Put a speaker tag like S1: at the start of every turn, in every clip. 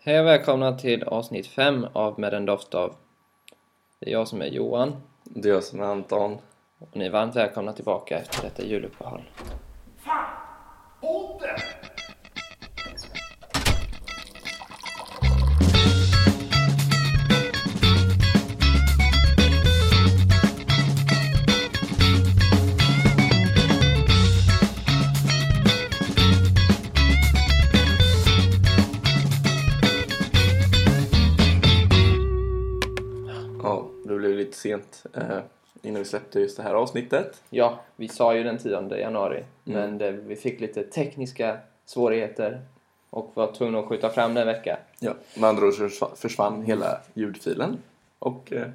S1: Hej och välkomna till avsnitt 5 av Med en doft av. Det är jag som är Johan
S2: Det är jag som är Anton.
S1: och ni är varmt välkomna tillbaka efter detta juluppehåll.
S2: Ja, det blev lite sent eh, innan vi släppte just det här avsnittet.
S1: Ja, vi sa ju den 10 januari, men det, vi fick lite tekniska svårigheter och var tvungna att skjuta fram den en vecka.
S2: Ja. Med andra ord så försva- försvann hela ljudfilen. Och eh,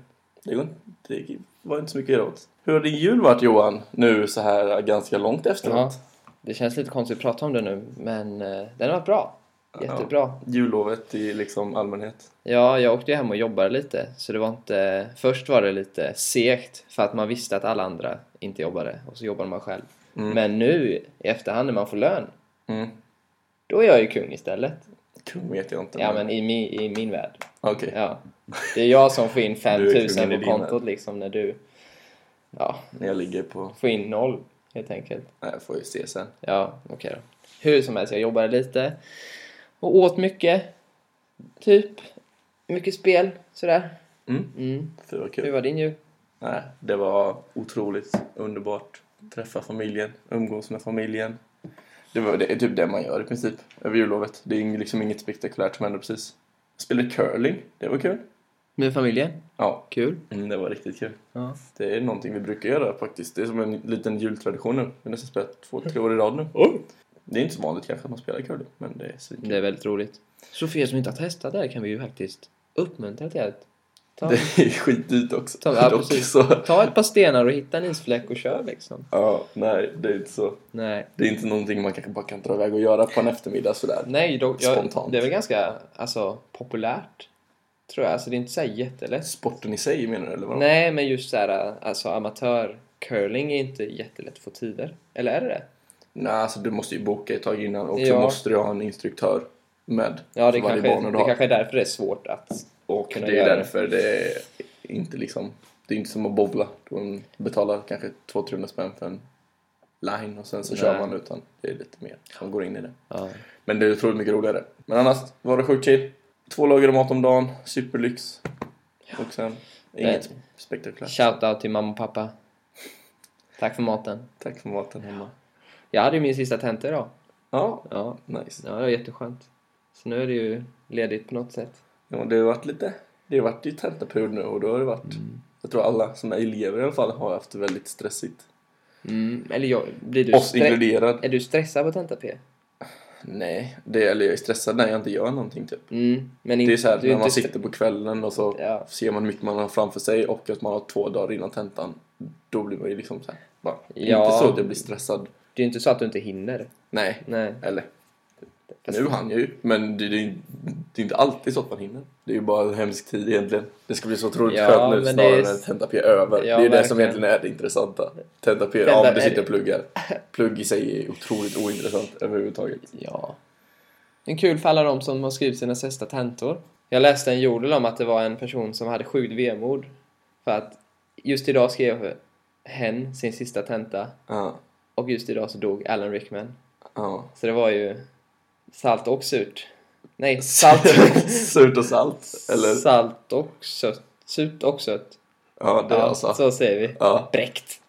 S2: det, går inte, det var inte så mycket att göra åt. Hur har din jul varit Johan? Nu så här ganska långt
S1: Ja,
S2: efteråt.
S1: det känns lite konstigt att prata om det nu, men eh, den har varit bra. Jättebra.
S2: Jullovet i liksom allmänhet.
S1: Ja, jag åkte ju hem och jobbade lite, så det var inte... Först var det lite segt för att man visste att alla andra inte jobbade och så jobbade man själv. Men nu i efterhand när man får lön,
S2: Mm.
S1: då är jag ju kung istället.
S2: Kung vet jag inte.
S1: Ja, men i min, i min värld.
S2: Okej.
S1: Ja. Det är jag som får in
S2: Du är kungen
S1: 5000
S2: i
S1: på
S2: din
S1: kontot liksom när du ja,
S2: När jag ligger på...
S1: får in noll helt enkelt.
S2: Nej, jag får ju se sen.
S1: Ja, okej då. Hur som helst, jag jobbade lite och åt mycket. Typ. Mycket spel, sådär.
S2: Mm.
S1: Mm.
S2: Fy vad
S1: Hur
S2: kul.
S1: var din jul?
S2: Nej, det var otroligt underbart. Träffa familjen, umgås med familjen. Det, var, det är typ det man gör i princip över jullovet. Det är ing- liksom inget spektakulärt som händer precis. Spelade curling, det var kul.
S1: Med familjen?
S2: Ja,
S1: Kul.
S2: mm, det var riktigt kul.
S1: Ja.
S2: Det är någonting vi brukar göra faktiskt. Det är som en liten jultradition nu. Vi har nästan spelat två, tre år i rad nu. Det är inte så vanligt kanske att man spelar curling, men det är svinkul.
S1: Det är väldigt roligt. Så för er som inte har testat det här kan vi ju faktiskt uppmuntra till att ta,
S2: Det är skitdyrt också.
S1: Ta- ja,
S2: Dock,
S1: precis.
S2: så.
S1: ta ett par stenar och hitta en isfläck och kör liksom.
S2: Ja, nej, det är inte så.
S1: Nej.
S2: Det är inte någonting man kanske bara kan dra iväg och göra på en eftermiddag sådär.
S1: Nej, då, jag,
S2: Spontant.
S1: det är väl ganska alltså, populärt. Tror jag. Alltså det är inte så här jättelätt.
S2: Sporten i sig menar du eller vadå?
S1: Nej, men just så här, alltså amatörcurling är inte jättelätt att få tider. Eller är det det?
S2: Nej, alltså du måste ju boka ett tag innan och
S1: Ja.
S2: så måste du ha en instruktör med
S1: Ja, det,
S2: för varje
S1: kanske,
S2: bana du
S1: det
S2: har.
S1: kanske är därför det är svårt att...
S2: Och
S1: kunna
S2: det är
S1: göra det.
S2: därför det är inte liksom det är inte som att bowla. De betalar kanske 200-300 spänn för en line och sen så
S1: Nej.
S2: kör man utan det är lite mer som går in i det.
S1: Ja.
S2: Men det är otroligt mycket roligare. Men annars var det sjukt chill. Två lager mat om dagen, superlyx. Och sen inget spektakulärt.
S1: Shoutout till mamma och pappa. Tack för maten.
S2: Tack för maten hemma.
S1: Jag hade ju min sista tenta idag.
S2: Ja,
S1: Ja,
S2: nice.
S1: ja, det var jätteskönt. Så nu är det ju ledigt på något sätt.
S2: Ja, det har varit lite... Det har varit ju tentaperiod nu och då har det varit...
S1: Mm.
S2: Jag tror alla som är elever i alla fall har haft det väldigt stressigt.
S1: Mm, eller jag, blir du
S2: Oss
S1: stre-
S2: inkluderad.
S1: Är du stressad på tenta-P?
S2: Nej, det, eller jag är stressad när jag inte gör någonting typ.
S1: Mm, men in-
S2: Det är så här
S1: du är
S2: när man
S1: inte stre-
S2: sitter på kvällen och så
S1: Ja.
S2: ser man hur mycket man har framför sig och att man har två dagar innan tentan. Då blir man ju liksom så här, bara,
S1: Ja.
S2: Inte så att jag blir stressad.
S1: Det är ju inte så att du inte hinner.
S2: Nej.
S1: Nej.
S2: Eller,
S1: Fast-
S2: nu hann jag ju. Men det, det, är- det är inte alltid så att man hinner. Det är ju bara en hemsk tid egentligen. Det ska bli så otroligt
S1: Ja,
S2: skönt nu
S1: men
S2: snarare
S1: det är-
S2: än tentapé över. det är ju
S1: verkligen. eh.
S2: det som egentligen är det intressanta. Tentapé,
S1: Tenta-
S2: ja om du
S1: är
S2: sitter
S1: det-
S2: och pluggar. Plugg i sig är otroligt ointressant överhuvudtaget.
S1: Ja. En kul för alla de som har skrivit sina sista tentor. Jag läste en jordel om att det var en person som hade sjukt vemod. För att just idag skrev hen sin sista tenta.
S2: Ja,
S1: Och just idag så dog Alan Rickman.
S2: ja.
S1: Så det var ju salt och surt. Nej, salt,
S2: Surt och salt. Eller,
S1: salt och sött. Surt och sött.
S2: ja det är
S1: Ja,
S2: alltså.
S1: så säger vi.
S2: Ja,
S1: Bräckt.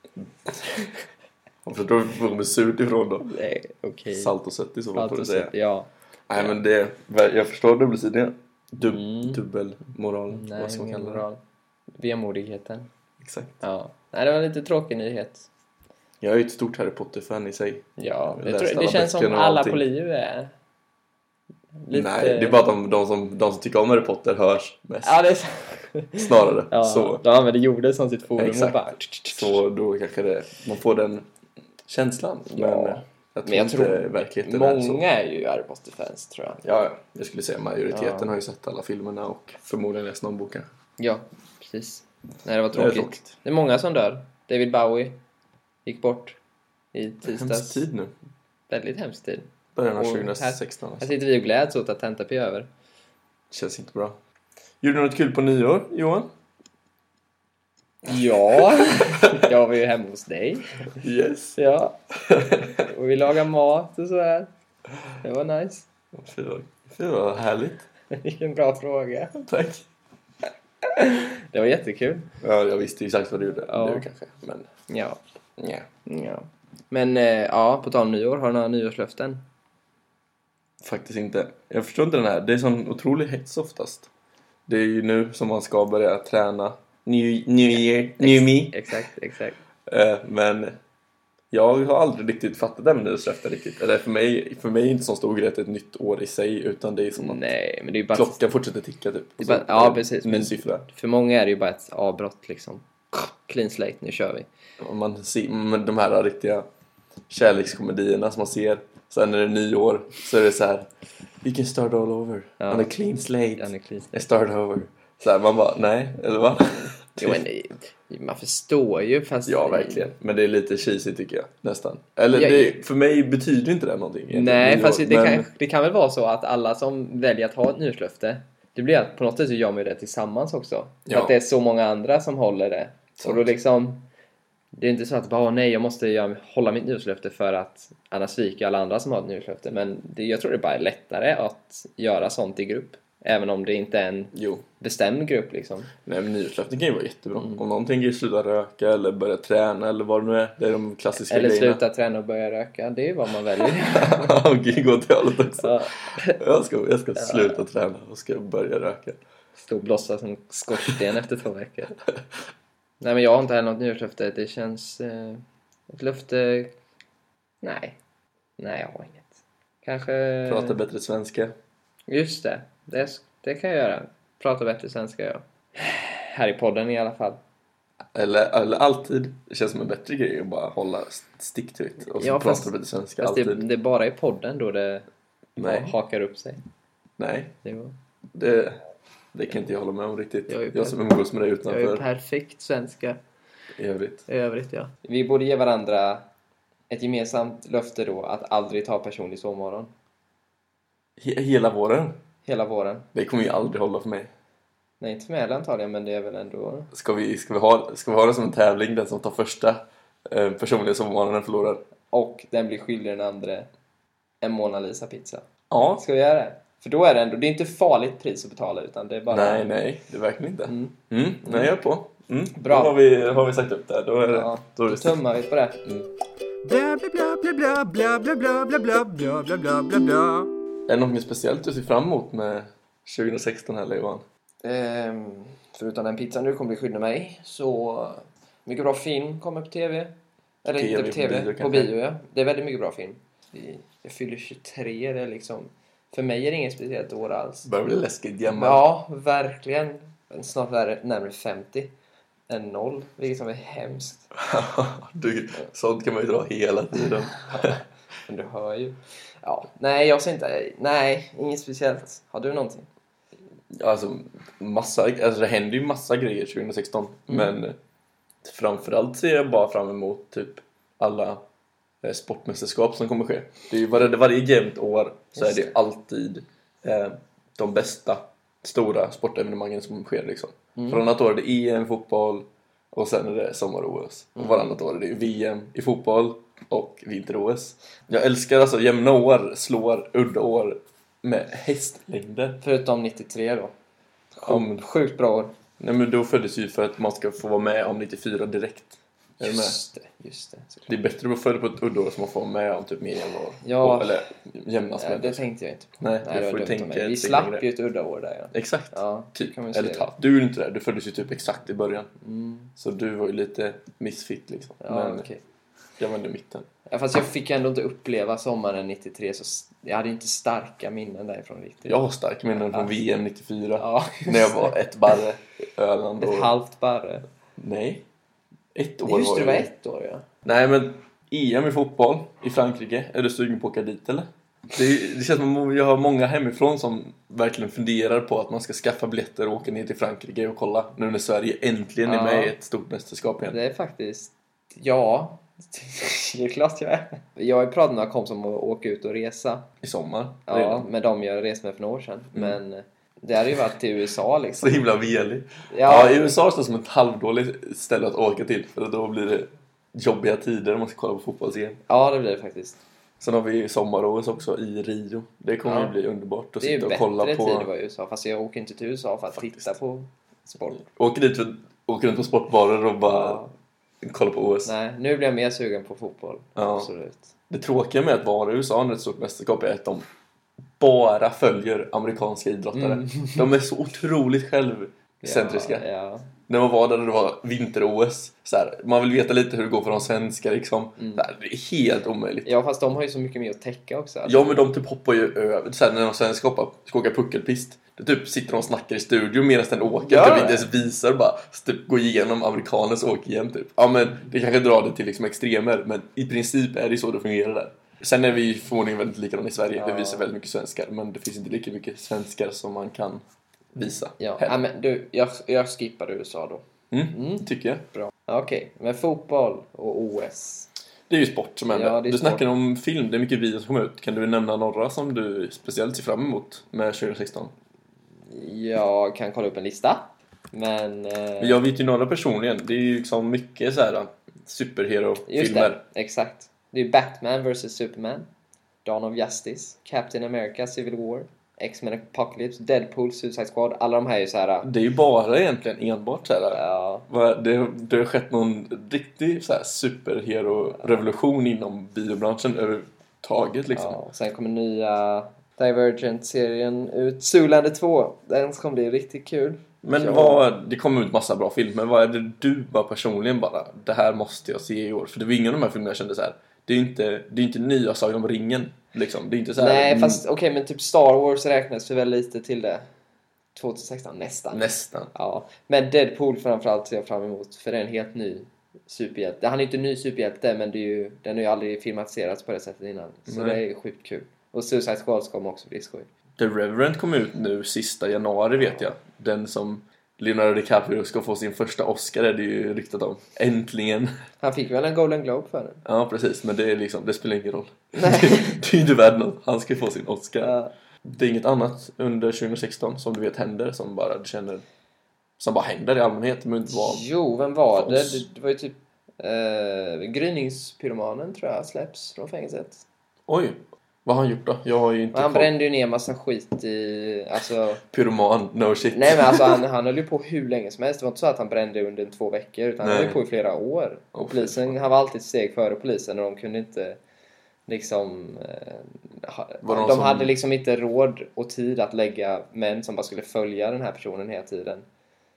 S2: jag förstår var vi kommer surt ifrån då.
S1: Nej, okej.
S2: Salt och sött i så fall
S1: Salt
S2: får du
S1: och
S2: säga.
S1: sött, ja.
S2: Nej men det, jag förstår dubbelsidiga. Dub, Dubbelmoralen,
S1: Mm. Nej,
S2: vad ska man kalla det?
S1: moral. Vemodigheten.
S2: Exakt.
S1: Ja. Nej, det var en lite tråkig nyhet.
S2: Jag är ju ett stort Harry Potter-fan i sig.
S1: Ja,
S2: Jag
S1: det,
S2: läste
S1: tror, det
S2: alla
S1: känns som
S2: böckerna och
S1: alla
S2: allting.
S1: på LiU är lite...
S2: Nej, det är bara att de, de, som, de som tycker om Harry Potter hörs mest.
S1: Ja, det är så...
S2: Snarare.
S1: Ja,
S2: Så,
S1: De använder jorden som sitt forum och
S2: Exakt.
S1: bara...
S2: så då kanske det, man får den känslan. Men
S1: Ja.
S2: eh, jag tror,
S1: Men jag tror
S2: inte verkligheten är så.
S1: Många är ju Harry Potter-fans, tror jag.
S2: Ja, ja, jag skulle säga majoriteten
S1: Ja.
S2: har ju sett alla filmerna och förmodligen läst någon bok kanske.
S1: Ja, precis. Nej, det var
S2: Det är
S1: tråkigt. Det är,
S2: tråkigt.
S1: många som dör. David Bowie gick bort i
S2: Hemsk
S1: tisdags.
S2: tid nu.
S1: Väldigt hemskt tid.
S2: Början av
S1: Och här-
S2: 2016
S1: Här
S2: alltså.
S1: sitter vi och gläds åt att tenta P över.
S2: Känns inte bra. Gjorde du något kul på nyår, Johan?
S1: Ja, jag var ju hemma hos dig.
S2: Yes.
S1: Ja. Och vi lagade mat och sådär. Det var nice.
S2: Fy vad- fy vad härligt.
S1: Vilken bra fråga.
S2: Tack.
S1: Det var jättekul.
S2: Ja, jag visste ju exakt vad du gjorde.
S1: Ja.
S2: Du kanske. Men,
S1: Ja.
S2: nja.
S1: ja. Men eh, ja, på tal om nyår, har du några nyårslöften?
S2: Faktiskt inte. Jag förstår inte den här. Det är sån otrolig hets oftast. Det är ju nu som man ska börja träna. New, new year, new me.
S1: Exakt, exakt.
S2: Eh, Men jag har aldrig riktigt fattat det här med nyårslöften riktigt. Eller för mig, för mig är det inte så stor grej att det är ett nytt år i sig utan det är som att
S1: Nej, men det är ju bara...
S2: klockan fortsätter ticka typ.
S1: Det
S2: Och
S1: är bara- ja,
S2: är det
S1: precis.
S2: en Ny
S1: Men-
S2: siffra.
S1: För många är det ju bara ett avbrott liksom. Clean slate, nu kör vi.
S2: Och man ser, men de här riktiga kärlekskomedierna som man ser. Sen när det är nyår så är det så här. You can start all over.
S1: Ja.
S2: On a clean slate.
S1: Ja, nu clean slate.
S2: I start over. Så här, man bara, nej, eller va?
S1: Jo, men det- man förstår ju fast...
S2: Ja, verkligen. Men det är lite cheesy tycker jag, nästan. Eller
S1: Ja,
S2: det, för mig betyder inte det någonting. egentligen,
S1: Nej,
S2: nyår,
S1: fast det,
S2: men-
S1: kan, det kan väl vara så att alla som väljer att ha ett nyårslöfte, det blir att på något sätt så gör man ju det tillsammans också.
S2: Ja.
S1: Att det är så många andra som håller det.
S2: Sant.
S1: Och då liksom, det är inte så att bara "Åh, nej, jag måste göra, hålla mitt nyårslöfte för att annars sviker alla andra som har ett nyårslöfte. Men det, jag tror det bara är lättare att göra sånt i grupp. Även om det inte är en
S2: Jo.
S1: bestämd grupp liksom.
S2: Nej, men nyårslöften kan ju vara jättebra. Om någon tänker sluta röka eller börja träna eller vad det nu är. Det är de klassiska
S1: Eller
S2: grejerna.
S1: sluta träna och börja röka, det är ju vad man väljer.
S2: Ja, Gud, gå till hållet också.
S1: Så,
S2: Jag ska, jag ska sluta träna och ska börja röka.
S1: Eh. Stå och blossa som skorsten efter två veckor. Nej men jag har inte heller något nyårslöfte. Det känns... Eh, ett löfte... Nej. Nej, jag har inget. Kanske...
S2: Prata bättre svenska.
S1: Just det. det. s- Det kan jag göra. Prata bättre svenska jag. Här i podden i alla fall.
S2: Eller, eller alltid. Det känns som en bättre grej att bara hålla stick to it. Och så
S1: Ja,
S2: prata
S1: fast-
S2: bättre svenska
S1: Fast det,
S2: alltid.
S1: det är bara i podden då det
S2: Nej.
S1: ha- hakar upp sig.
S2: Nej,
S1: Det var,
S2: det, det kan inte jag hålla med om riktigt.
S1: Jag är
S2: Jag,
S1: ju
S2: som umgås med dig
S1: jag är ju
S2: utanför
S1: perfekt svenska
S2: i övrigt.
S1: i övrigt ja. Vi borde ge varandra ett gemensamt löfte då att aldrig ta personlig sovmorgon.
S2: He, hela våren.
S1: Hela våren.
S2: Det kommer ju aldrig hålla för mig.
S1: Nej, inte med alla antagligen, men det är väl ändå...
S2: Ska vi, ska vi, ha, ska vi ha det som en tävling? Den som tar första eh, personliga sommarmånaden förlorar.
S1: Och den blir skyldig den andra en Mona Lisa-pizza.
S2: Ja.
S1: Ska vi göra det? För då är det ändå... Det är inte farligt pris att betala, utan det är bara...
S2: Nej, nej, det är verkligen inte. Mm.
S1: Mm.
S2: Nej, jag är på. Mm.
S1: Bra.
S2: Då har vi, har vi sagt upp det. här. Då är det,
S1: Ja,
S2: då är
S1: då
S2: det stämt.
S1: tummar vi på det.
S3: Blah blah blah blah blah blah blah blah blah blah blah blah blah blah.
S2: Är det något speciellt du ser fram emot med 2016 här, Johan?
S1: Ehm, förutom den pizzan du kommer bli skyldig mig, så... Mycket bra film kommer på TV. Eller
S2: TV,
S1: inte på
S2: på
S1: TV,
S2: bio
S1: på
S2: kanske.
S1: bio ja. Det är väldigt mycket bra film. Vi- Jag fyller 23, det är liksom... För mig är det inget speciellt år alls.
S2: Börjar bli läskigt gammal.
S1: Ja, verkligen. Snart är det närmare 50 än noll, vilket som är hemskt.
S2: du, sånt kan man ju dra hela tiden.
S1: Men du hör ju. Ja, nej, jag ser inte... Nej, inget speciellt. Har du någonting?
S2: Alltså, massa, alltså det händer ju massa grejer 2016. Men framförallt ser jag bara fram emot typ alla eh, sportmästerskap som kommer ske. Det är ju varje, varje jämnt år så
S1: Just
S2: är det ju alltid eh, de bästa stora sportevenemangen som sker liksom. Varannat år är det EM i fotboll och sen är det sommar-OS. Och varannat år är det VM i fotboll och vinter-OS. Jag älskar alltså jämna år slår udda år med hästlängder.
S1: Förutom 93 då.
S2: Om
S1: Sjukt bra år.
S2: Nej men då föddes ju för att man ska få vara med om 94 direkt. Är du med?
S1: Just det, just det. såklart.
S2: Det är bättre att vara född på ett uddaår som man får vara med om typ mer än år.
S1: Ja.
S2: Och- Eller jämnas
S1: Nej,
S2: med.
S1: det tänkte jag inte på.
S2: Nej,
S1: Nej, det
S2: du
S1: var
S2: får ju
S1: dumt av
S2: tänka
S1: mig. Vi
S2: ett steg längre.
S1: slapp ju ett udda år där ja.
S2: Exakt.
S1: Ja,
S2: typ.
S1: kan man ju
S2: Eller
S1: säga.
S2: tapp. Du är ju inte där. Du föddes ju typ exakt i början.
S1: Mm.
S2: Så du var ju lite misfit liksom.
S1: Ja,
S2: men
S1: okej.
S2: jag var ändå i mitten.
S1: Ja, fast jag fick ändå inte uppleva sommaren 93 så s- jag hade inte starka minnen därifrån riktigt.
S2: Jag har starka minnen från
S1: Ja.
S2: VM 94.
S1: Ja, just
S2: När jag
S1: det.
S2: var ett barre i Öland.
S1: Ett halvt barre.
S2: Nej. Ett år
S1: Just det, det
S2: jag.
S1: var ett år ja.
S2: Nej men EM i fotboll i Frankrike, är du sugen på att åka dit eller? Det, det känns som att jag har många hemifrån som verkligen funderar på att man ska skaffa biljetter och åka ner till Frankrike och kolla nu när Sverige äntligen är
S1: Ja.
S2: med i ett stort mästerskap igen.
S1: Det är faktiskt... Ja, det är klart jag är. Jag har ju pratat med några kompisar om att åka ut och resa.
S2: I sommar.
S1: Ja,
S2: redan. Mm.
S1: med dem jag reste med för några år sedan. Men eh, Det hade ju varit till USA liksom.
S2: Så himla velig.
S1: Ja,
S2: Ja. USA känns som ett halvdåligt ställe att åka till för då blir det jobbiga tider om man ska kolla på fotbolls-EM.
S1: ja det blir det faktiskt.
S2: Sen har vi sommar-OS också i Rio. Det kommer
S1: Ja.
S2: ju bli underbart att
S1: Det är ju
S2: sitta och kolla
S1: bättre tid
S2: på.
S1: att vara i USA. Fast jag åker inte till USA för att titta på sport.
S2: Åker dit för åker runt på sportbarer och bara
S1: Ja.
S2: kolla på OS.
S1: Nej, nu blir jag mer sugen på fotboll.
S2: Ja.
S1: Absolut.
S2: Det tråkiga med att vara i USA under ett stort mästerskap är att de bara följer amerikanska idrottare.
S1: Mm.
S2: De är så otroligt självcentriska.
S1: Ja, ja.
S2: När man var där och det var vinter-OS, så här, man vill veta lite hur det går för de svenska liksom.
S1: Mm.
S2: Så här, det är helt omöjligt.
S1: ja, fast de har ju så mycket mer att täcka också.
S2: Ja men de typ hoppar ju över, så här, när de svenska hoppar, ska åka puckelpist. Då typ sitter de och snackar i studion medan den åker,
S1: Gör
S2: typ
S1: det?
S2: inte ens visar bara. Så typ går igenom amerikanens åker igen typ. Ja men det kanske drar det till liksom extremer, men i princip är det så det fungerar där. Sen är vi ju förmodligen väldigt likadana i Sverige, vi
S1: Ja.
S2: visar väldigt mycket svenskar, men det finns inte lika mycket svenskar som man kan visa.
S1: Ja,
S2: här.
S1: ja men du, jag, jag skippar USA då.
S2: Mm, tycker jag.
S1: Bra. Okej, men fotboll och OS.
S2: Det är ju sport som händer.
S1: Ja, det är
S2: du
S1: sport.
S2: snackar om film, det är mycket videos som kommer ut. Kan du nämna några som du speciellt ser fram emot med 2016?
S1: Jag kan kolla upp en lista. Men... Eh,
S2: Men jag vet ju några personligen. Det är ju liksom mycket så här
S1: just
S2: superhero-filmer.
S1: det, exakt. Det är Batman vs Superman. Dawn of Justice. Captain America Civil War. X-Men Apocalypse. Deadpool Suicide Squad. Alla de här är ju så här.
S2: Det är ju bara egentligen enbart så här. äh,
S1: Ja,
S2: vad- Det, det har skett någon riktig så här superhero-revolution inom biobranschen överhuvudtaget liksom.
S1: ja. Sen kommer nya Divergent-serien ut. Zoolander 2. Den kommer bli riktigt kul.
S2: Men
S1: Ja.
S2: vad, det kommer ut massa bra filmer. Vad är det du bara personligen bara, det här måste jag se i år? För det var ingen av de här filmerna jag kände så här. Det är ju inte, det är inte nya Sagan om ringen. Liksom. Det är inte så här,
S1: Nej,
S2: mm,
S1: fast okej, men typ Star Wars räknas för väl lite till det. 2016, nästan.
S2: "Mm, Nästan.
S1: Ja, men Deadpool framförallt ser jag fram emot för det är en helt ny superhjälte. Han är inte en ny superhjälte men det är ju, den har ju aldrig filmatiserats på det sättet innan. Så
S2: Nej.
S1: det är ju sjukt kul. Och Suicide Squad kommer också bli skoj.
S2: The Reverend kom ut nu sista januari vet jag. Den som Leonardo DiCaprio ska få sin första Oscar är det ju ryktat om. Äntligen!
S1: Han fick väl en Golden Globe för den?
S2: Ja precis, men det, är liksom, det spelar ingen roll. Det, det är ju inte värd något. Han ska ju få sin Oscar.
S1: Ja.
S2: Det är inget annat under 2016 som du vet händer som bara du känner som bara händer i allmänhet men inte var
S1: Jo, vem var det?
S2: Fons.
S1: det? Det var ju typ eh, Gryningspyromanen tror jag släpps från fängelset.
S2: Oj! Vad har han gjort då? Jag har ju inte
S1: Och han
S2: koll.
S1: brände ju ner massa skit i... Alltså,
S2: Pyroman, no shit.
S1: nej men alltså han, han höll ju på hur länge som helst. Det var inte så att han brände under två veckor utan han
S2: Nej.
S1: höll ju på i flera år.
S2: Åh, fy
S1: Polisen, han var alltid ett steg före polisen och de kunde inte liksom... eh, ha-
S2: Var det
S1: de
S2: någon som-
S1: hade liksom inte råd och tid att lägga män som bara skulle följa den här personen hela tiden.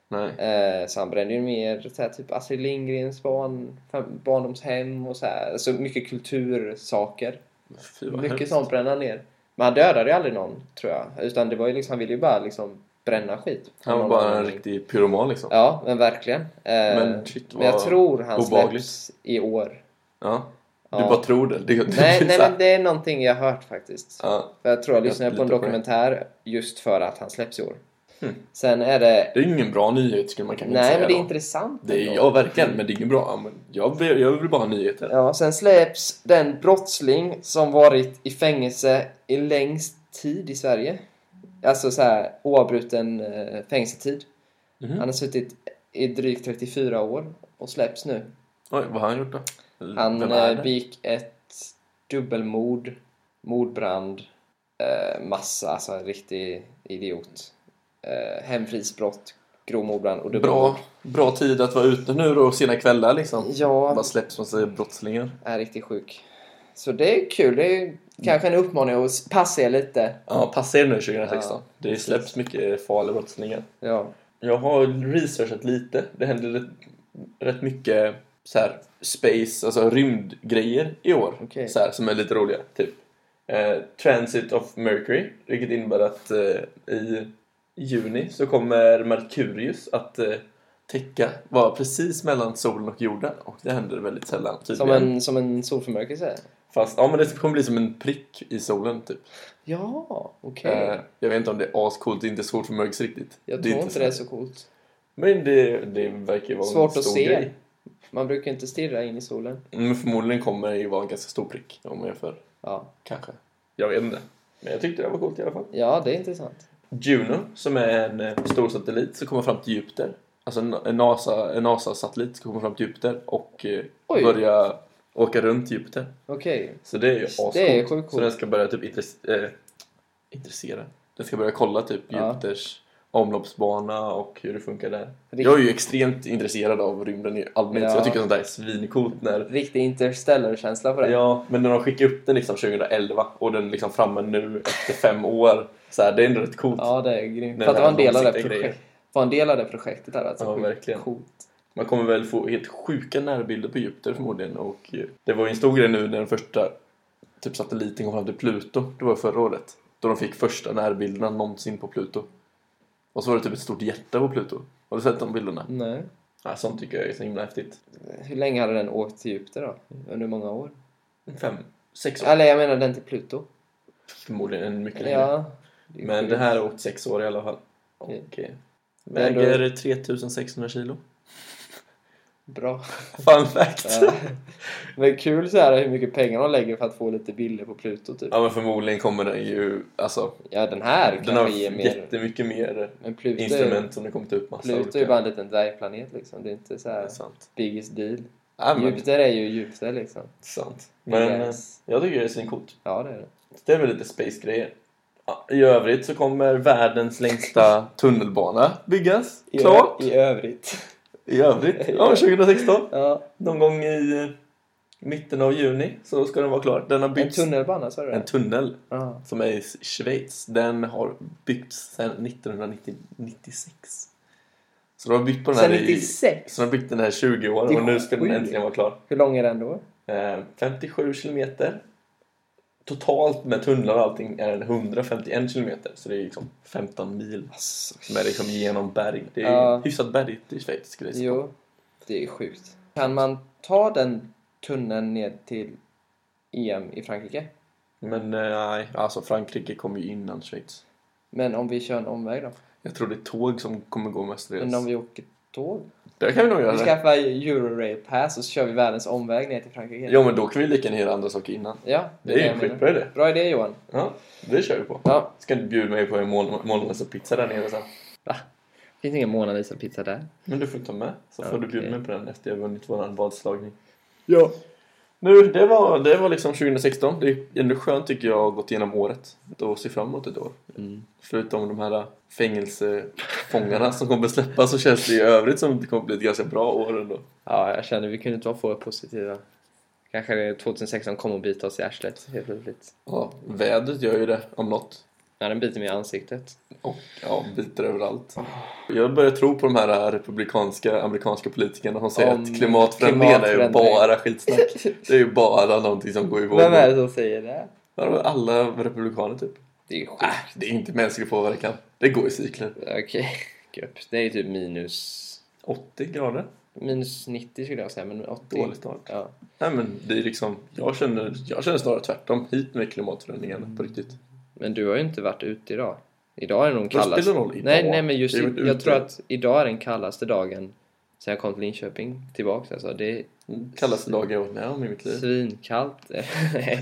S2: Nej.
S1: Eh, så han brände ju mer så här, typ Astrid Lindgrens barn, fam- barndomshem och så här. Alltså mycket kultursaker.
S2: Fy, vad
S1: mycket
S2: hemskt.
S1: sånt brände han ner. Men han dödade ju aldrig någon, tror jag. Utan det var ju liksom, han ville ju bara liksom bränna skit.
S2: Han var
S1: Någon
S2: bara en
S1: anledning.
S2: riktig pyroman liksom.
S1: Ja, men verkligen. Eh,
S2: Men
S1: men,
S2: shit,
S1: jag
S2: vad
S1: tror han
S2: obehagligt.
S1: släpps i år.
S2: Ja. Du
S1: Ja.
S2: bara tror det. det, det
S1: Nej,
S2: det är
S1: nej
S2: så här.
S1: men det är någonting jag har hört faktiskt.
S2: Ja.
S1: För jag tror jag
S2: Jag
S1: lyssnade på
S2: litar
S1: en
S2: på det.
S1: dokumentär just för att han släpps i år.
S2: Hmm.
S1: Sen är det...
S2: Det är ingen bra nyhet skulle man kanske inte
S1: Nej,
S2: säga
S1: men det är
S2: då.
S1: intressant
S2: Det är,
S1: ändå.
S2: ja, verkligen, men det är ingen bra. Ja, Men jag, vill, jag vill bara ha nyheter.
S1: Ja, sen släpps den brottsling som varit i fängelse i längst tid i Sverige. Alltså så här oavbruten eh, fängelsetid.
S2: Mhm.
S1: Han har suttit i drygt 34 år och släpps nu.
S2: Oj, vad har han gjort då?
S1: Han
S2: Vem är
S1: eh,
S2: det?
S1: begick ett dubbelmord, mordbrand, eh, massa, alltså en riktig idiot. Eh, hemfridsbrott, grov mordbrand och dubbelmord.
S2: bra, bra tid att vara ute nu då, sena kvällar liksom.
S1: Ja,
S2: Bara släpps massa brottslingar.
S1: är riktigt sjuk. Så det är kul, det är kanske en uppmaning att s- passa er lite.
S2: Ja, passa er nu 2016.
S1: Ja,
S2: det släpps mycket farliga brottslingar.
S1: Ja,
S2: Jag har researchat lite. Det händer rätt, rätt mycket så här, space, alltså rymdgrejer i år.
S1: Okej.
S2: Så här, som är lite roliga. Typ. Eh, Transit of Mercury, vilket innebär att eh, i juni så kommer Merkurius att eh, täcka, vara precis mellan solen och jorden. Och det händer väldigt sällan
S1: som
S2: tydligen.
S1: en, som en solförmörkelse.
S2: Fast ja, men det kommer bli som en prick i solen typ.
S1: Ja, okej.
S2: Eh, jag vet inte om det är ascoolt, det är inte svårt för mörks riktigt.
S1: Jag
S2: är
S1: tror inte det är
S2: så-
S1: så coolt.
S2: Men det, det verkar ju vara
S1: Svårt
S2: en
S1: att
S2: stor
S1: se.
S2: grej.
S1: Man brukar inte stirra in i solen.
S2: Men förmodligen kommer det ju vara en ganska stor prick om jag för
S1: Ja,
S2: kanske. Jag vet inte. Men jag tyckte det var coolt i alla fall.
S1: ja det är intressant.
S2: Juno, som är en eh, stor satellit som kommer fram till Jupiter. Alltså en- en NASA- en NASA-satellit som kommer fram till Jupiter och eh,
S1: Oj.
S2: börja åka runt Jupiter.
S1: Okej.
S2: Så det är ju
S1: Det är
S2: ascoolt.
S1: sjukt
S2: Så den ska börja typ intresse- eh, intressera. Den ska börja kolla typ
S1: Ja.
S2: Jupiters omloppsbana och hur det funkar där.
S1: Rikt-
S2: Jag är ju extremt intresserad av rymden i allmänhet så
S1: Ja.
S2: jag tycker sånt där är svincoolt när
S1: Riktig interstellar-känsla på det.
S2: Ja, men när de skickade upp den liksom 2011 och den liksom framme nu efter fem år så här, det är ändå rätt coolt.
S1: Ja, det är grymt.
S2: Nej,
S1: För att det var en del av det
S2: långsiktiga
S1: projektet. Var en del av det projektet där alltså.
S2: Ja,
S1: Sjukt
S2: verkligen.
S1: Coolt.
S2: Man kommer väl få helt sjuka närbilder på Jupiter förmodligen och eh, det var ju en stor grej nu när den första typ satelliten kom fram till Pluto, det var förra året, då de fick första närbilderna någonsin på Pluto. Och så var det typ ett stort hjärta på Pluto. Har du sett de bilderna?
S1: Nej.
S2: Ja, sånt tycker jag är så himla häftigt.
S1: Hur länge hade den åkt till Jupiter då? Under många år?
S2: Fem, sex år
S1: Eller jag menar den till Pluto.
S2: förmodligen, en mycket längre.
S1: Ja. är
S2: Men
S1: sjukt.
S2: det här har åkt sex år i alla fall. Och
S1: Mm.
S2: eh,
S1: är ändå-
S2: väger 3600 kilo.
S1: Bra.
S2: Fun fact!
S1: Ja. Men kul så här hur mycket pengar de lägger för att få lite bilder på Pluto typ.
S2: Ja men förmodligen kommer den ju, alltså
S1: Ja, den här
S2: den har
S1: kanske ger mer.
S2: jättemycket mer
S1: Men Pluto, är-
S2: instrument som det kommer ta upp massa
S1: Pluto är ju bara en liten dvärgplanet liksom. Det är inte så
S2: Det är
S1: här
S2: sant.
S1: biggest deal.
S2: Alltså. Ja, men, det är
S1: Jupiter är ju Jupiter liksom.
S2: sant.
S1: Det är
S2: Men eh,
S1: gräs.
S2: jag tycker det är svincoolt.
S1: Ja, det är det.
S2: Det är väl lite space-grejer. Ja, I övrigt så kommer världens längsta tunnelbana byggas.
S1: I ö-
S2: Klart!
S1: I övrigt.
S2: I övrigt. Ja, 2016.
S1: Ja,
S2: Någon gång i eh, mitten av juni så ska den vara klar. Den har
S1: en
S2: byggts...
S1: tunnelbana sa du
S2: En
S1: det?
S2: tunnel
S1: Ja.
S2: som är i Schweiz. Den har byggts sedan 1996. Så de har byggt på den här
S1: Sen
S2: i...
S1: 96?
S2: Så de har byggt den här i 20
S1: Det
S2: år
S1: är
S2: och nu ska den
S1: sjukt.
S2: äntligen vara klar.
S1: Hur lång är den då?
S2: Eh, 57 kilometer. Totalt med tunnlar och allting är den 151 kilometer. Så det är liksom 15 mil som är liksom genom berg. Det är
S1: Ja.
S2: hyfsat bergigt i Schweiz skulle jag säga.
S1: Jo, det är sjukt. Kan man ta den tunneln ner till EM i Frankrike?
S2: Men eh, nej, alltså Frankrike kom ju innan Schweiz.
S1: Men om vi kör en omväg då?
S2: Jag tror det är tåg som kommer gå mest
S1: Men om
S2: resor.
S1: vi åker tåg?
S2: Det kan vi nog
S1: Vi
S2: göra.
S1: skaffar Eurorail Pass och så kör vi världens omväg ner till Frankrike.
S2: Ja men då kan vi lika gärna göra andra saker innan.
S1: Ja,
S2: Det är ju
S1: jag
S2: en
S1: menar.
S2: skitbra idé.
S1: Bra idé Johan.
S2: Ja, det kör vi på.
S1: Ja.
S2: Ska du bjuda mig på en mål- målmästarpizza där nere sen?
S1: Finns ingen Mona Lisa-pizza där?
S2: Men du får ta med, så får du
S1: Okej.
S2: bjuda mig på den efter jag vunnit våran vadslagning.
S1: Ja.
S2: Nu, det var, det var liksom 2016. Det är ändå skönt tycker jag att ha gått igenom året och se fram emot ett år.
S1: Mm.
S2: Förutom de här fängelsefångarna som kommer släppas så känns det i övrigt som det kommer bli ett ganska bra år ändå.
S1: Ja, jag känner vi kunde inte vara för positiva. Kanske det 2016 kommer att bita oss i arslet helt plötsligt.
S2: Ja, vädret gör ju det om något.
S1: Ja, den biter mig i ansiktet.
S2: Och ja, biter överallt.
S1: Ah.
S2: Jag börjar tro på de här republikanska amerikanska politikerna som säger
S1: Om
S2: att klimatförändringarna är ju
S1: klimatförändring.
S2: bara skitsnack. Det är ju bara någonting som går i vår
S1: Vem är det
S2: mun.
S1: som säger det?
S2: Ja, det var Alla republikaner typ.
S1: Det är ju sjukt.
S2: Äh, det är inte mänsklig påverkan. Det går i cykler.
S1: Okej. Gupp. Det är ju typ minus...
S2: 80 grader.
S1: Minus 90 skulle jag säga, men 80.
S2: Dålig start.
S1: Ja.
S2: Nej men det är liksom, jag känner, jag känner snarare tvärtom. Hit med klimatförändringarna på riktigt.
S1: Men du har ju inte varit ute idag. Idag är det nog
S2: Vad spelar
S1: kallast.
S2: det roll idag?
S1: Nej, nej, men just
S2: Jag har varit
S1: jag, jag
S2: ute.
S1: tror att idag är den kallaste dagen sen jag kom till Linköping tillbaka. Alltså. Det är
S2: Kallaste dagen jag varit med om i mitt liv.
S1: svinkallt. nej,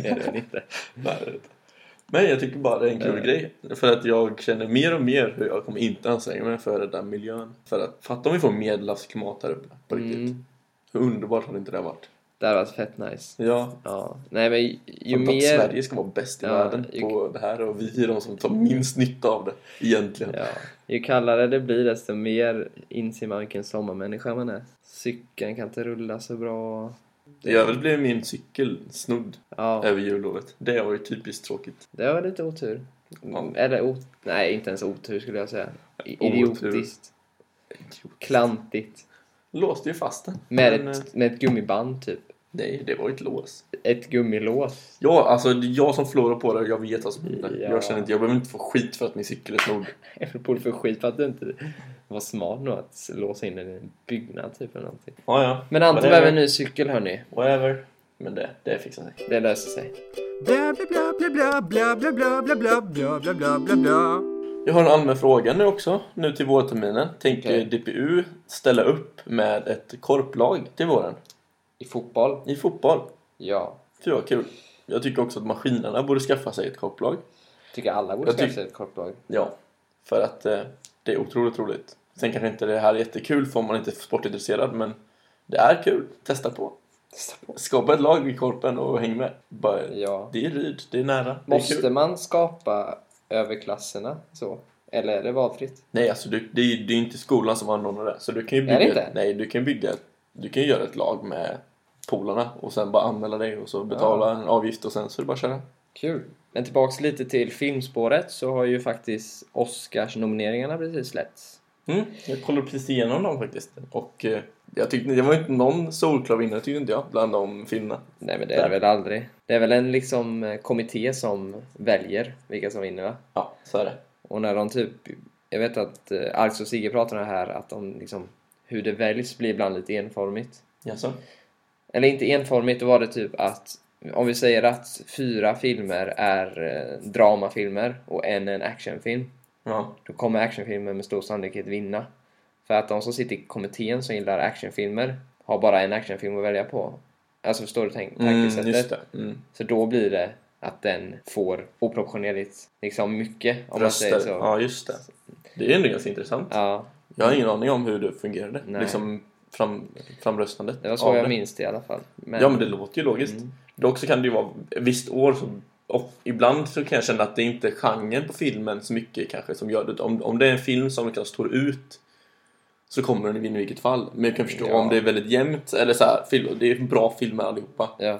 S1: det är det väl inte.
S2: Nej, det är inte. Men jag tycker bara det är en kul
S1: Eh.
S2: grej. För att jag känner mer och mer hur jag kommer inte anstränga mig för att rädda miljön. För att fatta om vi får medelhavsklimat här uppe på riktigt.
S1: Mm.
S2: Hur underbart hade inte det varit?
S1: Det hade varit fett nice.
S2: Ja.
S1: Ja. Nej, men ju
S2: Att
S1: mer...
S2: Sverige ska vara bäst i
S1: Ja,
S2: världen
S1: ju-
S2: på det här och vi är de som tar minst nytta av det egentligen.
S1: Ja. Ju kallare det blir desto mer inser man vilken sommarmänniska man är. Cykeln kan inte rulla så bra.
S2: I övrigt blev min cykel snodd
S1: Ja.
S2: över jullovet. Det var ju typiskt tråkigt.
S1: Det var lite otur.
S2: Ja.
S1: Eller ot... Nej, inte ens otur skulle jag säga. I-
S2: Otur.
S1: Idiotiskt. Klantigt.
S2: Låste ju fast den.
S1: Med,
S2: Men, eh,
S1: ett, med ett gummiband typ.
S2: Nej, det var ju ett lås.
S1: Ett gummilås.
S2: Ja, alltså det är jag som förlorar på det. Jag vet vad som händer.
S1: Ja.
S2: Jag känner inte, jag behöver inte få skit för att min cykel är snodd.
S1: Apropå för skit för att du inte var smart nog att låsa in den i en byggnad typ eller någonting.
S2: Ja, ja.
S1: Men Anton
S2: Whatever.
S1: behöver en ny cykel hörni.
S2: Whatever. Men det, det fixar sig.
S1: Det löser sig.
S3: Bla bla bla bla bla bla bla bla bla bla bla bla bla bla.
S2: Jag har en allmän fråga nu också, nu till vårterminen. Tänker
S1: Okej.
S2: DPU ställa upp med ett korplag till våren?
S1: I fotboll?
S2: I fotboll?
S1: Ja.
S2: Fy vad kul. Jag tycker också att maskinerna borde skaffa sig ett korplag.
S1: Tycker alla borde
S2: Jag
S1: skaffa
S2: tyck-
S1: sig ett korplag.
S2: Ja. För att eh, det är otroligt roligt. Sen kanske inte det här är jättekul för om man inte är sportintresserad men det är kul. Testa på.
S1: Testa på.
S2: Skapa ett lag i korpen och häng med. Bara,
S1: Ja.
S2: Det är Ryd, det är nära. Det är
S1: Måste
S2: kul.
S1: man skapa överklasserna så? Eller är det valfritt?
S2: Nej, alltså du, det, är, ju- det är inte skolan som anordnar det. Så du kan ju
S1: det
S2: bygga,
S1: inte?
S2: Nej, du kan bygga du kan ju göra ett lag med polarna och sen bara anmäla dig och så betala en avgift och sen så är det bara att köra.
S1: Kul! Men tillbaks lite till filmspåret så har ju faktiskt Oscars-nomineringarna precis släppts.
S2: Mm, jag kollade precis igenom dem faktiskt. Och eh, jag tyckte, det var ju inte någon solklar vinnare tyckte inte jag, bland de filmerna.
S1: Nej men det är det väl aldrig. Det är väl en liksom eh, kommitté som väljer vilka som vinner va?
S2: Ja, så är det.
S1: Och när de typ, jag vet att eh, Alex och Sigge pratade om det här att de liksom, hur det väljs blir ibland lite enformigt.
S2: Jaså?
S1: Eller inte enformigt, då var det typ att om vi säger att fyra filmer är eh, dramafilmer och en är en actionfilm.
S2: Ja.
S1: Då kommer actionfilmer med stor sannolikhet vinna. För att de som sitter i kommittén som gillar actionfilmer har bara en actionfilm att välja på. Alltså förstår du tänk- tankesättet?
S2: Mm, just det. Mm.
S1: Så då blir det att den får oproportionerligt liksom mycket om man
S2: Röster.
S1: säger så.
S2: Ja, just det. Det är ändå ganska intressant.
S1: Ja,
S2: Jag har ingen aning om hur det fungerade.
S1: Nej.
S2: Liksom fram, framröstandet.
S1: det var så
S2: av
S1: jag
S2: det.
S1: minns det i alla fall. Men, Mm.
S2: Ja, men det låter ju logiskt. Dock så kan det ju vara visst år som och ibland så kan jag känna att det inte är genren på filmen så mycket kanske som gör det. Om, om det är en film som liksom står ut så kommer den vinna i vilket fall. Men jag kan förstå
S1: Ja.
S2: om det är väldigt jämnt eller så här, fil- det är bra filmer allihopa.
S1: ja.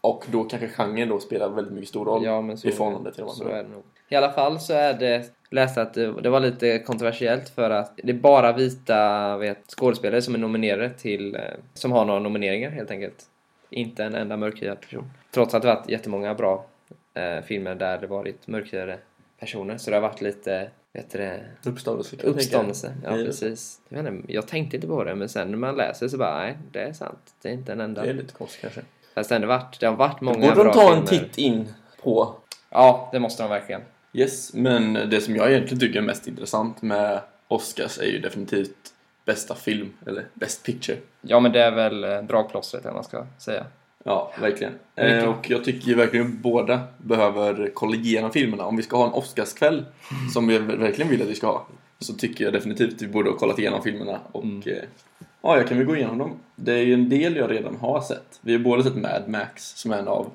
S2: Och då kanske genren då spelar väldigt mycket stor roll
S1: Ja, men så,
S2: i förhållande till de
S1: så är
S2: andra.
S1: det nog. I alla fall så är det läste att det, det var lite kontroversiellt för att det är bara vita vet, skådespelare som är nominerade till eh, som har några nomineringar helt enkelt. Inte en enda mörkhyad person. Trots att det varit jättemånga bra eh, filmer där det varit mörkhyade personer så det har varit lite vet du, det,
S2: Uppståndelse. kan jag tänka.
S1: uppståndelse. Ja,
S2: Det är-
S1: precis. Jag, vet inte, jag tänkte inte på det men sen när man läser så bara nej, det är sant. Det är inte en enda.
S2: Det är lite konstigt kanske.
S1: Fast ändå varit, det har varit många
S2: Borde
S1: bra
S2: de ta en
S1: filmer.
S2: titt in på
S1: Ja, det måste de verkligen.
S2: Yes, men det som jag egentligen tycker är mest intressant med Oscars är ju definitivt bästa film, eller best picture.
S1: Ja, men det är väl eh, dragplåstret, eller vad man ska säga.
S2: Ja, verkligen.
S1: Vilken-
S2: Eh, och jag tycker ju verkligen båda behöver kolla igenom filmerna. Om vi ska ha en Oscarskväll,
S1: Mm.
S2: som jag verkligen vill att vi ska ha, så tycker jag definitivt vi borde ha kollat igenom filmerna. Och
S1: Mm.
S2: eh, ja, jag kan väl gå igenom dem. Det är ju en del jag redan har sett. Vi har båda sett Mad Max, som är en av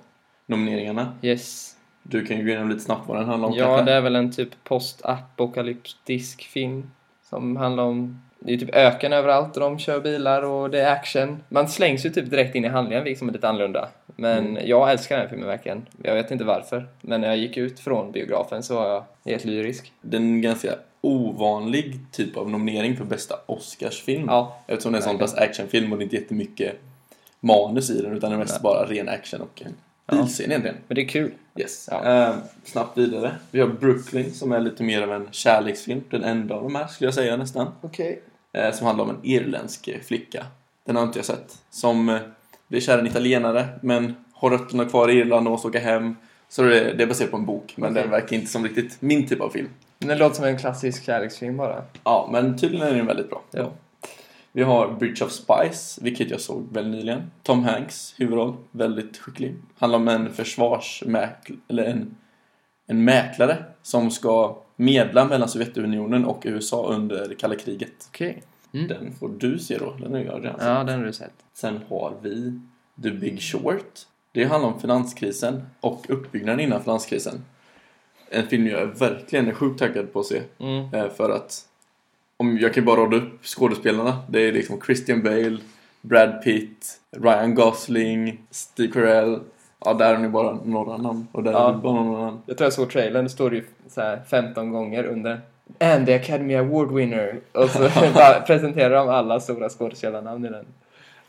S2: nomineringarna.
S1: Yes.
S2: Du kan ju gå igenom lite snabbt vad den handlar om
S1: Ja,
S2: kanske.
S1: det är väl en typ postapokalyptisk film som handlar om... Det är typ öken överallt och de kör bilar och det är action. Man slängs ju typ direkt in i handlingen, vilket som är lite annorlunda. Men jag älskar den här filmen verkligen. Jag vet inte varför, men när jag gick ut från biografen så var jag helt lyrisk.
S2: Det är en ganska ovanlig typ av nominering för bästa Oscarsfilm.
S1: Ja.
S2: Eftersom det är en sån pass actionfilm och det är inte jättemycket manus i den utan det är mest bara ren action och en bilscen egentligen.
S1: Men det är kul.
S2: Yes.
S1: Ja.
S2: Eh, snabbt vidare. Vi har Brooklyn som är lite mer av en kärleksfilm. Den enda av de här skulle jag säga nästan.
S1: Okej.
S2: Eh, som handlar om en irländsk eh, flicka. Den har inte jag sett. Som eh, blir kär i en italienare men har rötterna kvar i Irland och måste åka hem. Så det, det är baserat på en bok men
S1: Okej.
S2: den verkar inte som riktigt min typ av film.
S1: Det låter som en klassisk kärleksfilm bara.
S2: Ja, men tydligen är den väldigt bra.
S1: Ja.
S2: Vi har Bridge of Spies, vilket jag såg väldigt nyligen. Tom Hanks huvudroll, väldigt skicklig. Handlar om en försvarsmäklare, eller en, en mäklare som ska medla mellan Sovjetunionen och USA under kalla kriget.
S1: Okej.
S2: Den får du se då, den har jag redan sett.
S1: Ja, den har du sett.
S2: Sen har vi The Big Short. Det handlar om finanskrisen och uppbyggnaden innan finanskrisen. En film jag verkligen är sjukt taggad på att se.
S1: Mm.
S2: Eh, För att om jag kan bara rada upp skådespelarna. Det är liksom Christian Bale, Brad Pitt, Ryan Gosling, Steve Carell. Ja, där är ni bara några namn. Och där
S1: Ja.
S2: är ni bara några namn.
S1: Jag tror jag såg trailern, det står ju så här 15 gånger under And the Academy Award winner Och så bara presenterar de alla stora skådespelarnamn i den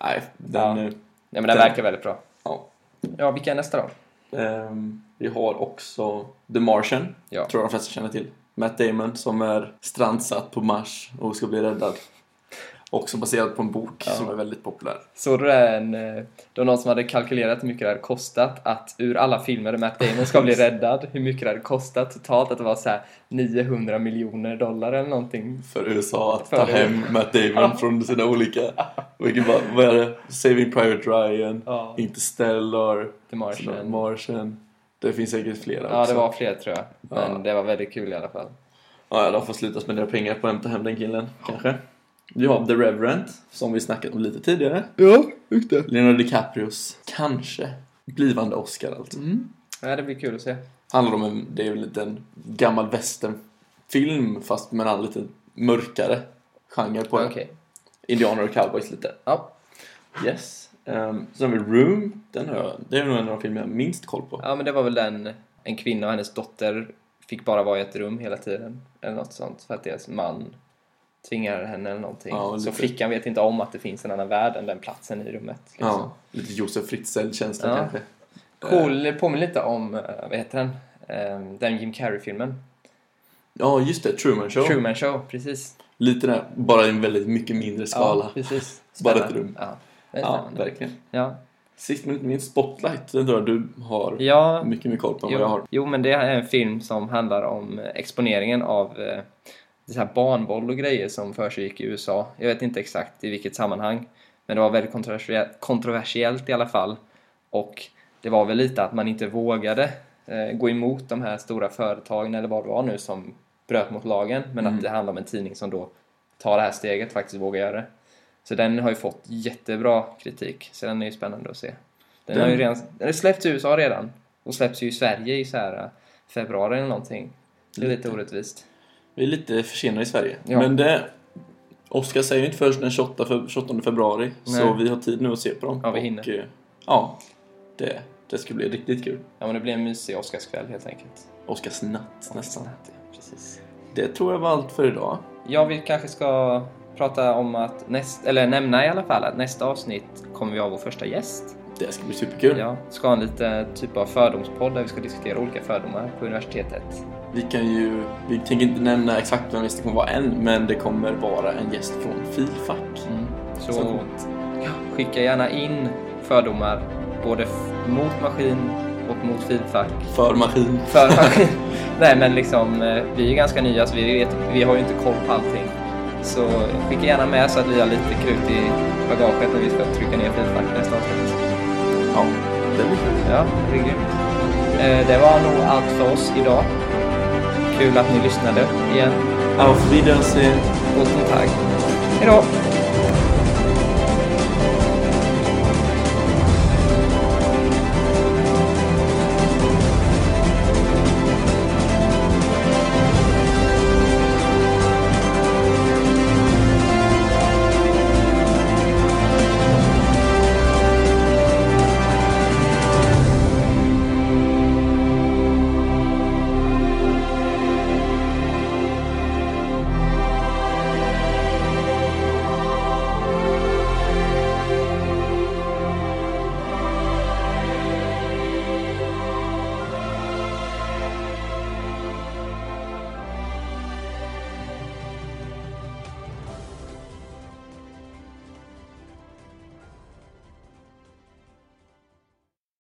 S2: Nej, den...
S1: Ja.
S2: eh,
S1: Ja men den verkar väldigt bra
S2: Ja.
S1: Ja, vilka är nästa då?
S2: Ehm, vi har också The Martian.
S1: Ja,
S2: Tror jag de flesta känner till. Matt Damon som är strandsatt på Mars och ska bli räddad. Också baserad på en bok som är väldigt populär.
S1: såg du det här en, eh, Det var någon som hade kalkylerat hur mycket det hade kostat Att ur alla filmer där Matt Damon ska bli räddad Hur mycket det hade kostat totalt Att det var så här 900 miljoner dollar eller någonting
S2: För USA att
S1: För
S2: ta
S1: det.
S2: hem Matt Damon från sina olika... Vilket bara, vad är det? Saving Private Ryan,
S1: Ja.
S2: Interstellar,
S1: The Martian.
S2: Martian. Det finns säkert flera
S1: Ja,
S2: också.
S1: det var fler tror jag Men
S2: Ja.
S1: det var väldigt kul i alla fall
S2: Ja, de får sluta spendera pengar på att hämta hem den killen, kanske. Vi har The Reverend, som vi snackat om lite tidigare.
S1: Ja, just det.
S2: Leonardo DiCaprios, kanske, blivande Oscar alltså.
S1: Mm. Ja, det blir kul att se.
S2: Handlar om en, det är ju en liten gammal västernfilm, fast med en annan lite mörkare genre på
S1: Okej.
S2: den. Indianer och cowboys lite.
S1: Ja.
S2: Yes. Um, sen har vi Room, den har jag, det är nog en av de filmer jag har minst koll på.
S1: ja, men det var väl den en kvinna och hennes dotter fick bara vara i ett rum hela tiden. Eller något sånt. För att deras man tvingar henne eller någonting.
S2: Ja, lite.
S1: så flickan vet inte om att det finns en annan värld än den platsen i rummet. Liksom.
S2: Ja, lite Josef Fritzl-känsla
S1: Ja.
S2: kanske. Ehm,
S1: Cool, det påminner lite om, eh, vad heter den? Eh, Den Jim Carrey-filmen.
S2: Ja, just det, Truman Show.
S1: Truman Show, precis.
S2: Lite där, bara i en väldigt mycket mindre skala.
S1: Ja, precis.
S2: Bara
S1: Spännande.
S2: ett rum.
S1: Ja, det är
S2: Ja,
S1: spännande.
S2: verkligen.
S1: Ja.
S2: Sist men inte minst Spotlight, den tror jag du har
S1: Ja,
S2: mycket mer koll på än vad jag
S1: jo,
S2: har.
S1: jo, men det här är en film som handlar om eh, exponeringen av eh, det så här barnboll och grejer som försiggick i USA. Jag vet inte exakt i vilket sammanhang, men det var väldigt kontroversiellt, kontroversiellt i alla fall. Och det var väl lite att man inte vågade eh, gå emot de här stora företagen eller vad det var nu som bröt mot lagen, men
S2: Mm.
S1: att det handlar om en tidning som då tar det här steget, faktiskt vågar göra det. Så den har ju fått jättebra kritik, så den är ju spännande att se. Den,
S2: Den-
S1: har ju redan, den har släppts i USA redan och släpps ju i Sverige i så här eh, februari eller någonting. Det är lite orättvist.
S2: Vi är lite försenade i Sverige.
S1: Ja.
S2: Men det... Oscar säger ju inte först den 28, fe- 28 februari, så vi har tid nu att se på dem.
S1: Ja, vi hinner.
S2: Och, eh, ja, det, det ska bli riktigt kul.
S1: Ja, men det blir en mysig Oscarskväll helt enkelt.
S2: Oscars natt nästan.
S1: Snatt, ja, Precis.
S2: Det tror jag var allt för idag.
S1: Ja, vi kanske ska prata om att näst, eller nämna i alla fall att nästa avsnitt kommer vi ha vår första gäst.
S2: Det ska bli superkul.
S1: Ja, ska ha en liten typ av fördomspodd där vi ska diskutera olika fördomar på universitetet.
S2: Vi kan ju... Vi tänker inte nämna exakt vem det kommer vara än, men det kommer vara en gäst från Fifack.
S1: Mm. Så,
S2: Så coolt.
S1: ja, skicka gärna in fördomar både f- mot maskin och mot feedback.
S2: För maskin.
S1: För maskin. Nej, men liksom eh, vi är ganska nya så vi, vet, vi har ju inte koll på allting. Så skicka gärna med så att vi har lite krut i bagaget när vi ska trycka ner feedback nästa avsnitt.
S2: Ja, det blir kul.
S1: Ja, det är grymt. Eh, Det var nog allt för oss idag. Kul att ni lyssnade igen.
S2: Auf Wiedersehen.
S1: På kontakt. Hej då!